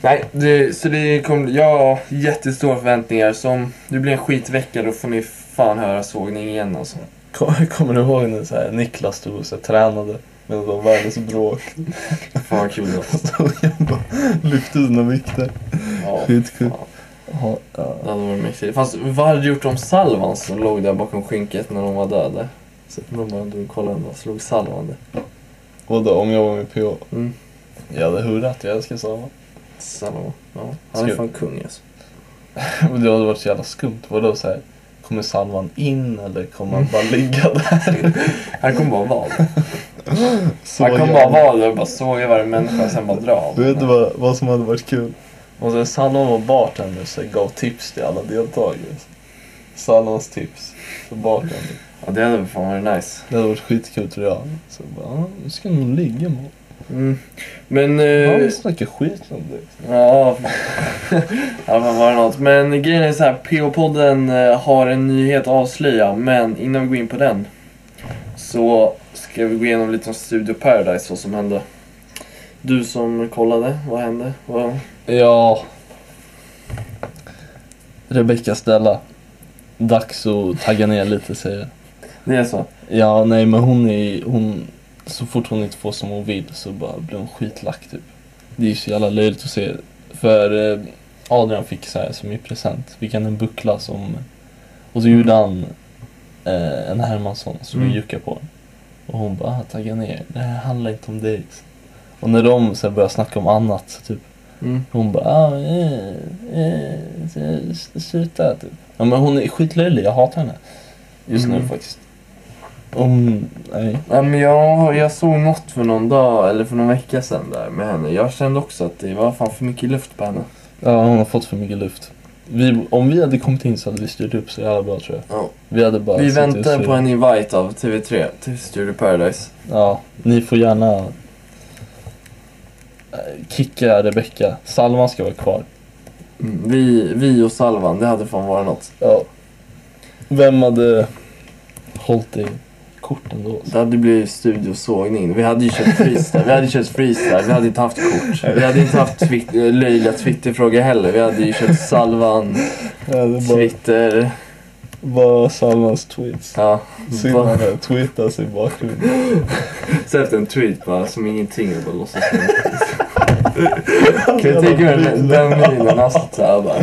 Nej, det, så det kom... Jag har jättestora förväntningar. Som det blir en skitvecka då får ni fan höra sågning igen alltså. Kom- Kommer du ihåg när så här, Niklas stod och så här, tränade men det var världens bråk? Fan vad kul det var. Stod och bara lyfte sina vikter. Ja. Skitkul. fan. Ja, ja. Det hade varit mäktigt. Fast vad hade du gjort om Salvan som låg där bakom skynket när de var döda? Så de bara drog och kollade och slog Salvan det. Vadå, om jag var med PH? Mm. Jag hade hurrat, jag älskar Sava. Salvan, ja. Han är Ska- fan kung alltså. Men det hade varit så jävla skumt. Vadå så här, kommer Salvan in eller kommer han bara ligga där? Han kommer bara vara där. Så Han kommer bara jävla- vara där och bara såga varje människa och sen bara dra. Vet du vad, vad som hade varit kul? Om så Salman var bartender så gav tips till alla deltagare. Salmans tips för bartender. Ja, det hade fan varit nice. Det hade varit skitkul tror jag. Så bara, "Ah, nu ska någon ligga med honom. Mm. Men... Han Eh, vill snacka skit om dig. ja, ja, men var det något. Men grejen är så här, PH-podden eh, har en nyhet att avslöja, men innan vi går in på den så ska vi gå igenom lite om Studio Paradise, vad som hände. Du som kollade, vad hände? Vad... Ja. Rebecca Stella. Dags att tagga ner lite säger jag. Det är så? Ja, nej men hon är hon, så fort hon inte får som hon vill så bara blir hon skitlack typ. Det är ju så jävla löjligt att se. För eh, Adrian fick så här som i present, fick han en buckla som, och så gjorde han eh, en Hermansson som Mm. mm. juckar på den. Och hon bara, ah, tagga ner, det här handlar inte om dig. Och när de så här börjar snacka om annat så typ, Mm. hon bara, ah, eh, eh, s- s- sluta typ. Ja men hon är skitlöjlig, jag hatar henne. Just Mm. nu faktiskt. Om, nej. Ja, men jag, jag såg något för någon dag, eller för någon vecka sedan där med henne. Jag kände också att det var fan för mycket luft på henne. Ja, hon har fått för mycket luft. Vi, om vi hade kommit in så hade vi styrt upp så jävla bra tror jag. Ja. Vi hade bara Vi suttit och väntar på styrt. en invite av TV3 till Studio Paradise. Ja, ni får gärna eh, kicka Rebecca. Salman ska vara kvar. Mm, Vi, vi och Salvan, det hade fan varit något. Ja. Vem hade hållit i korten då? Det hade blivit studiosågning. Vi hade ju kört freestyle, vi hade kört freestyle, vi hade inte haft kort. Vi hade inte haft twit- eh, löjliga twitterfrågor heller. Vi hade ju kört Salvan, Ja, det är bara, Twitter, bara Salmans tweets. ja. Simmar Bara- här och tweetar sig i bakgrunden. Så efter en tweet bara, som ingenting och bara låtsas som Kan du tänka dig den- den minen alltså? Så här bara.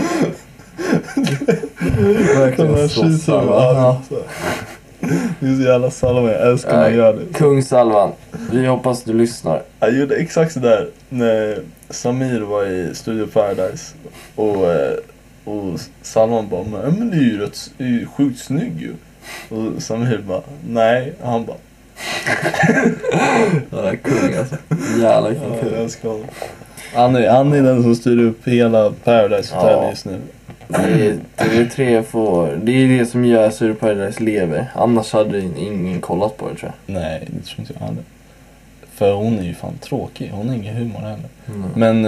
Verkligen så Salvan. Salman. Det är så jävla Salman, jag älskar när han Nej. gör det. Kung Salvan, vi hoppas du lyssnar. Jag gjorde exakt sådär när Samir var i Studio Paradise och, eh, och Salman bara men Emily är ju rätt är ju sjukt snygg ju. Och Samir bara nej, och han bara Ja, kung alltså. Jävlar ja, vilken jag kung. älskar honom. Han är, han är den som styr upp hela Paradise Hotel Ja. just nu. Det är- TV3 får... Det är det som gör Studio Paradise lever. Annars hade ingen kollat på det tror Nej, det tror inte jag heller. För hon är ju fan tråkig, hon har ingen humor heller. jag. Mm. Men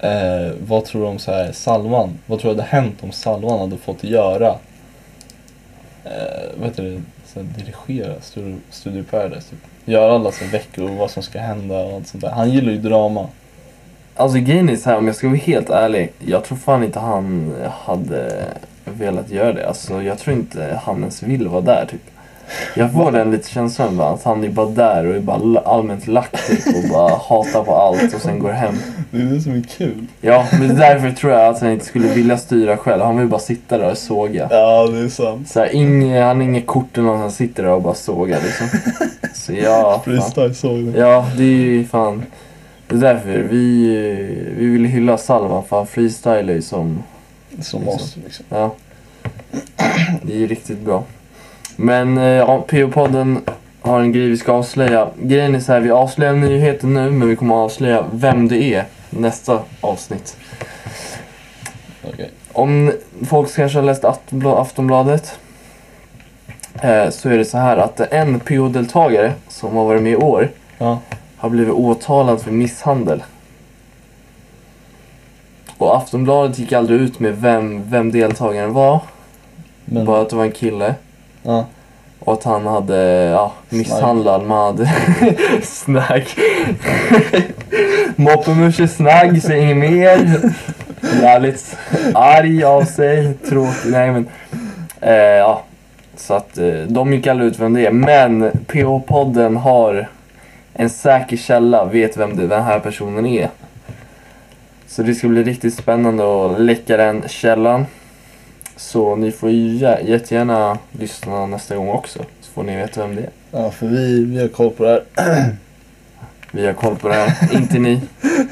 eh, eh, vad tror du om så här, Salvan? Vad tror du hade hänt om Salvan hade fått göra? Eh, vad heter det? Så här, dirigera Studio, Studio Paradise. Typ. Göra alla sina veckor och vad som ska hända och allt sånt där. Han gillar ju drama. Alltså grejen är så här, om jag ska vara helt ärlig. Jag tror fan inte han hade velat göra det. Alltså jag tror inte han ens vill vara där typ. Jag får den lite känslan bara, att han är bara där och är bara la- allmänt lack typ och bara hatar på allt och sen går hem. Det är det som är kul. Ja, men därför tror jag att han inte skulle vilja styra själv. Han vill bara sitta där och såga. Ja, det är sant. Så här, inge, han har inget kort eller något, han sitter där och bara sågar liksom. Så ja, fan. Freestyle-sågning. Ja, det är ju fan... Det är därför vi, eh, vi vill hylla Salvan för han freestylar ju som... Som oss liksom. Ja. Det är ju riktigt bra. Men eh, ja, PH-podden har en grej vi ska avslöja. Grejen är så här, vi avslöjar nyheten nu men vi kommer att avslöja vem det är nästa avsnitt. Okej. Om folk kanske har läst Aftonbla- Aftonbladet. eh, så är det så här att en PO-deltagare som har varit med i år Ja. har blivit åtalad för misshandel. Och Aftonbladet gick aldrig ut med vem, vem deltagaren var, Men, bara att det var en kille. ja. Och att han hade ja, misshandlat, man hade snack. Moppemusche snagg, säg inget mer. Jävligt arg av sig, tråkig. Nej men. Eh, ja. Så att eh, de gick aldrig ut vem det är. Men PH-podden har en säker källa, vet vem det, den här personen är. Så det ska bli riktigt spännande att läcka den källan. Så ni får ju jä- jättegärna lyssna nästa gång också. Så får ni veta vem det är. ja, för vi, vi har koll på det här. Vi har koll på det här, inte ni.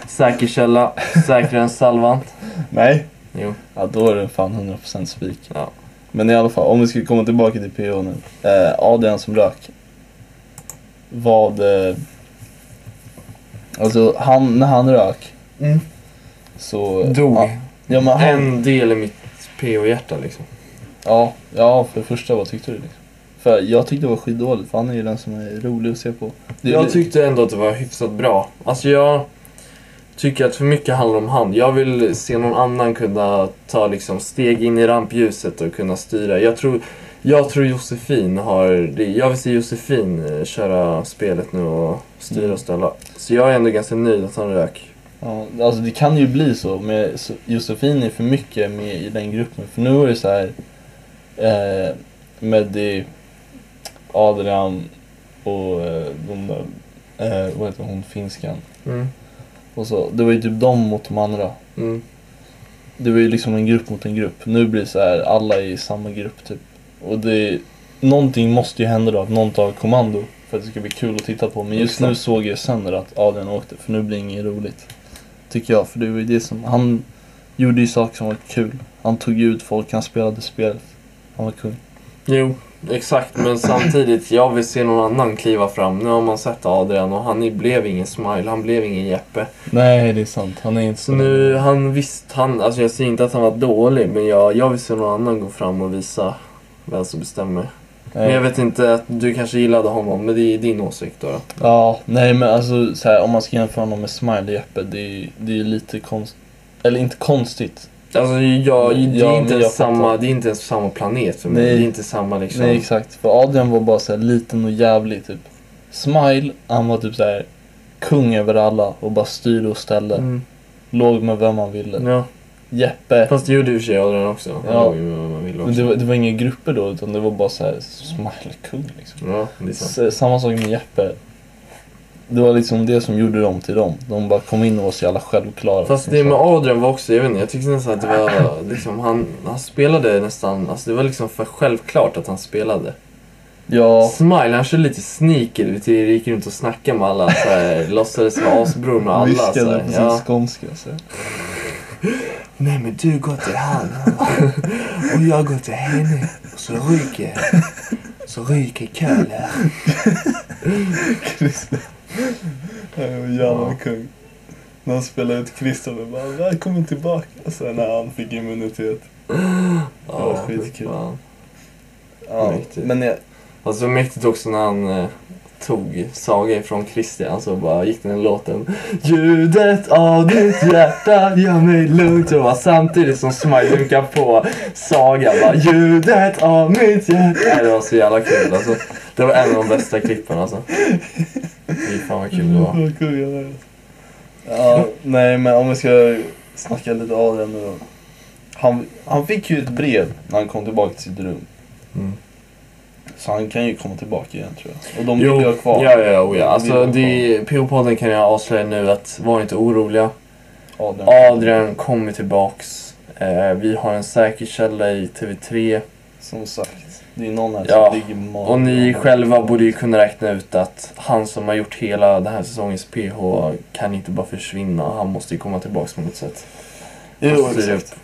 Säker källa, säkrare än Salvant. Nej. Jo. Ja, då är det fan 100% spik. Ja. Men i alla fall, om vi ska komma tillbaka till PO nu. Eh, Adrian som rök. Vad... Eh, alltså, han, när han rök Mm. så... Dog. Ja, ja, men han, En del i mitt PO-hjärta liksom. ja, ja, för det första, vad tyckte du? Liksom? För jag tyckte det var skitdåligt, för han är ju den som är rolig att se på. Det, Jag tyckte ändå att det var hyfsat bra. Alltså jag tycker att för mycket handlar om han. Jag vill se någon annan kunna ta liksom steg in i rampljuset och kunna styra. Jag tror, jag tror Josefin har... det- Jag vill se Josefin eh, köra spelet nu och styra och ställa. Så jag är ändå ganska nöjd att han rök. Ja, alltså det kan ju bli så, men så- Josefin är för mycket med i den gruppen. För nu är det så här eh, med det Adrian och eh, de där, eh, vad heter hon, finskan. Mm. Och så, det var ju typ de mot de andra. Mm. Det var ju liksom en grupp mot en grupp. Nu blir det så här, alla är i samma grupp typ. Och det, någonting måste ju hända då, att någon tar kommando för att det ska bli kul att titta på. Men just Exakt. nu såg jag sönder att Adrian åkte, för nu blir det inget roligt. Tycker jag, för det var ju det som, han gjorde ju saker som var kul. Han tog ju ut folk, han spelade spelet. Han var kung. Jo, exakt. Men samtidigt, jag vill se någon annan kliva fram. Nu har man sett Adrian och han blev ingen smile, han blev ingen Jeppe. Nej, det är sant. Han är inte Så nu, han visst, han, alltså jag säger inte att han var dålig, men jag, jag vill se någon annan gå fram och visa vem som bestämmer. Men jag vet inte, att du kanske gillade honom, men det är din åsikt då. då. Ja, nej men alltså så här, om man ska jämföra honom med Smiley Jeppe, det är ju det är ju lite konstigt. Eller inte konstigt. Alltså jag, det, Ja, är men inte jag ens samma, fattar. det är inte ens samma planet för mig. Nej. Det är inte samma liksom. Nej exakt, för Adrian var bara så här liten och jävlig typ. Smile, han var typ så här kung över alla och bara styrde och ställde. Mm. Låg med vem han ville. Ja. Jeppe. Fast det gjorde i och för sig Adrian också. Han Ja. låg ju med vad man ville Men det, också. var, det var inga grupper då utan det var bara så här Smile kung liksom. Ja, det är sant. S- Samma sak med Jeppe. Det var liksom det som gjorde dem till dem. De bara kom in och var så jävla självklara. Fast det med Adrian var också, jag vet inte, jag tyckte nästan att det var liksom, han, han spelade nästan, alltså det var liksom för självklart att han spelade. Ja. Smile, han körde lite sneaker, lite, gick runt och snackade med alla så här, låtsades vara asbror med alla. Så Viskade här, på sin ja. skånska. Så. Nej men du går till han och jag går till henne och så ryker, så ryker Köhler. Christer. Han var en Ja. jävla kung. När han spelade ut Christer och bara “Välkommen tillbaka” sen när han fick immunitet. var skitkul. fan. Ja, Riktigt. men jag, Och så mäktigt också när han eh, tog Saga ifrån Christian så bara gick den låten Ljudet av ditt hjärta gör mig lugn och bara, samtidigt som Smile dunkar på Saga bara Ljudet av mitt hjärta Det var så jävla kul alltså Det var en av de bästa klippen alltså Fy fan vad kul det var Vad kung han är. Ja, nej men om vi ska snacka lite av det nu då. han, han fick ju ett brev när han kom tillbaka till sitt rum. Mm. Så han kan ju komma tillbaka igen tror jag. Och de Jo, vill ju ha ja kvar ja ja, oh, ja. De Alltså vill ha det, PO-podden kan jag avslöja nu att var inte oroliga Adrian. Adrian kommer tillbaks eh, Vi har en säker källa i TV3 Som sagt, det är någon här Ja, som ligger i magen. Och ni själva borde ju kunna räkna ut att han som har gjort hela den här säsongens PH kan inte bara försvinna. Han måste ju komma tillbaks på något sätt. Jo, Och styra exakt. upp.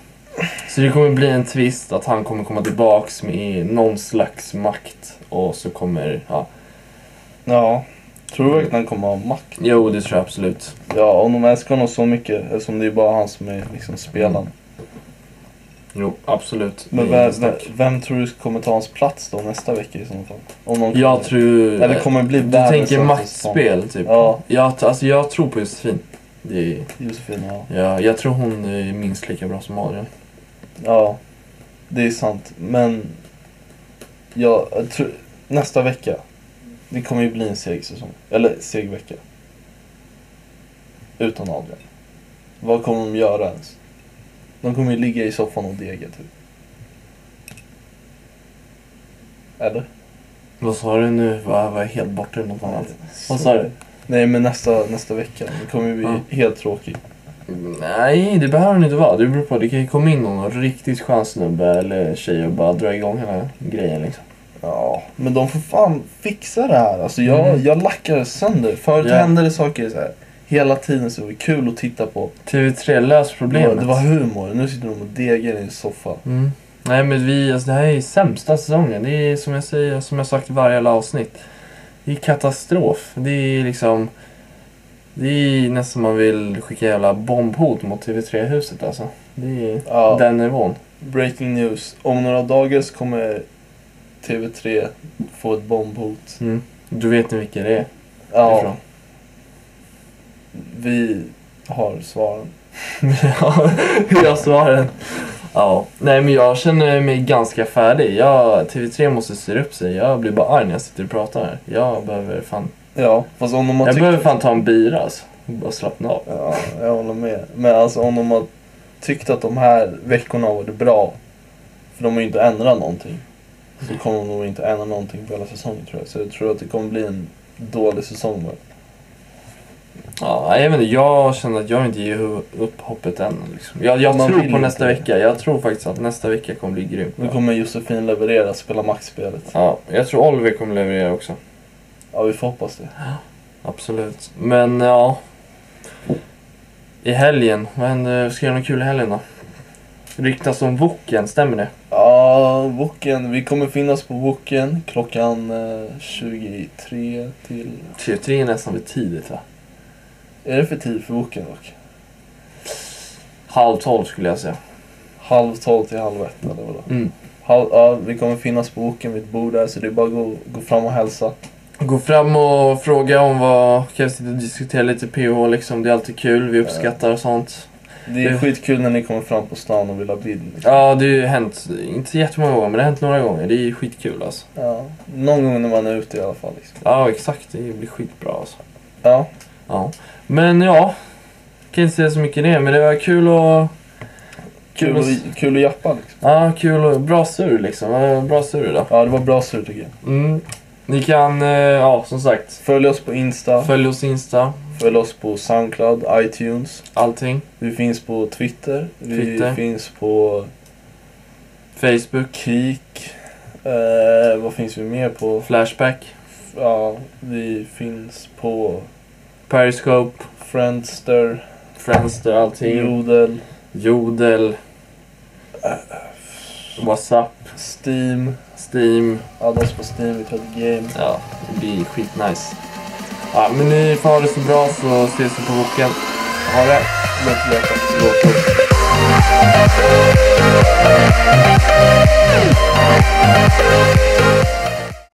Så det kommer bli en twist att han kommer komma tillbaks med någon slags makt. Och så kommer, ja. Ja. Tror du verkligen han kommer ha makt? Jo, det tror jag absolut. Ja, om de älskar honom så mycket eftersom det är bara han som är liksom spelaren. Jo, absolut. Men Mm. Det är vem, inget snack. vem tror du kommer ta hans plats då nästa vecka i så fall? Om någon Jag tror... Eller kommer det bli du världens tänker sämsta maktspel, typ. Ja, Jag, alltså, jag tror på Josefin. Det är, Josefin ja. ja, jag tror hon är minst lika bra som Adrian. Ja, det är sant. Men jag, jag tror, nästa vecka, det kommer ju bli en seg säsong. Eller seg vecka. Utan Adrian. Vad kommer de göra ens? De kommer ju ligga i soffan och dega typ. Eller? Vad sa du nu? Vad var jag helt borta i något annat? Vad sa du? Nej men nästa, nästa vecka, det kommer ju bli Ja. helt tråkigt. Nej, det behöver hon inte vara. Det beror på. Det kan ju komma in någon riktigt skön snubbe eller tjej och bara dra igång hela grejen liksom. Ja, men de får fan fixa det här. Alltså jag, Mm. jag lackar sönder. Förut Ja. hände det saker så här. Hela tiden så det var kul att titta på. TV3, lös Det var, problemet. det var humor. Nu sitter de och degar i en soffa. Mm. Nej men vi, alltså, det här är sämsta säsongen. Det är som jag säger, som jag sagt i varje jävla avsnitt. Det är katastrof. Det är liksom... Det är nästan man vill skicka jävla bombhot mot TV3-huset alltså. Det är Ja, den nivån. breaking news. Om några dagar så kommer TV3 få ett bombhot. Mm. Du vet nu vilka det är Ja, ifrån. vi har svaren. Ja, jag svaren. Ja. Nej men jag känner mig ganska färdig. Jag, TV3 måste styra upp sig. Jag blir bara arg när jag sitter och pratar här. Jag behöver fan, Ja, fast om de har jag tyckt- behöver fan ta en bira alltså. Och bara slappna av. Ja, jag håller med. Men alltså om de har tyckt att de här veckorna har varit bra, för de har ju inte ändrat någonting, så kommer de nog inte ändra någonting på hela säsongen tror jag. Så jag tror att det kommer bli en dålig säsong bara. Ja, jag, vet inte, jag känner att jag inte ger hu- upp hoppet än. Liksom. Jag, jag Man tror på vill inte. nästa vecka. Jag tror faktiskt att nästa vecka kommer bli grym. Nu kommer Josefin leverera, spela maxspelet. Ja, jag tror Oliver kommer leverera också. Ja, vi får hoppas det. Absolut. Men ja... I helgen, vad händer? Ska jag göra något kul i helgen då? Ryktas om Woken, stämmer det? Ja, Woken. Vi kommer finnas på Woken klockan eh, 23 till... TV3 är nästan för tidigt va? Är det för tid för Woken dock? Halv tolv skulle jag säga. Halv tolv till halv ett eller vadå? Mm. Halv, ja, vi kommer finnas på Woken vid ett bord där så det är bara att gå, gå fram och hälsa. Gå fram och fråga om vad... Kan vi sitta och diskutera lite PH liksom? Det är alltid kul, vi uppskattar sånt. Det är Det- skitkul när ni kommer fram på stan och vill ha bild. liksom. Ja, det har ju hänt, inte jättemånga gånger, men det har hänt några gånger. Det är skitkul alltså. Ja. Någon gång när man är ute i alla fall. Liksom. Ja, exakt. Det blir skitbra alltså. Ja. Ja. Men ja, kan inte säga så mycket i det, men det var kul och... Kul, Kul att, kul att jappa liksom. Ja, kul och bra sur liksom. Ja, Bra sur idag. Ja, det var bra sur tycker jag. Mm. Ni kan, eh, ja som sagt, Följ oss på Insta, följ oss Insta, följ oss på Soundcloud, iTunes. allting. Vi finns på Twitter. Vi Twitter. finns på Facebook, Kik. Eh, vad finns vi mer på? Flashback, Ja, vi finns på Periscope, Friendster, Friendster, allting. Jodel, Jodel. Whatsapp, Steam. Steam. Addas på Steam, vi tar ett game. Ja, det blir skitnice. Ja, men ni får ha det så bra så ses vi på boken. Ha det! Låt det låta. Låt oss. Thank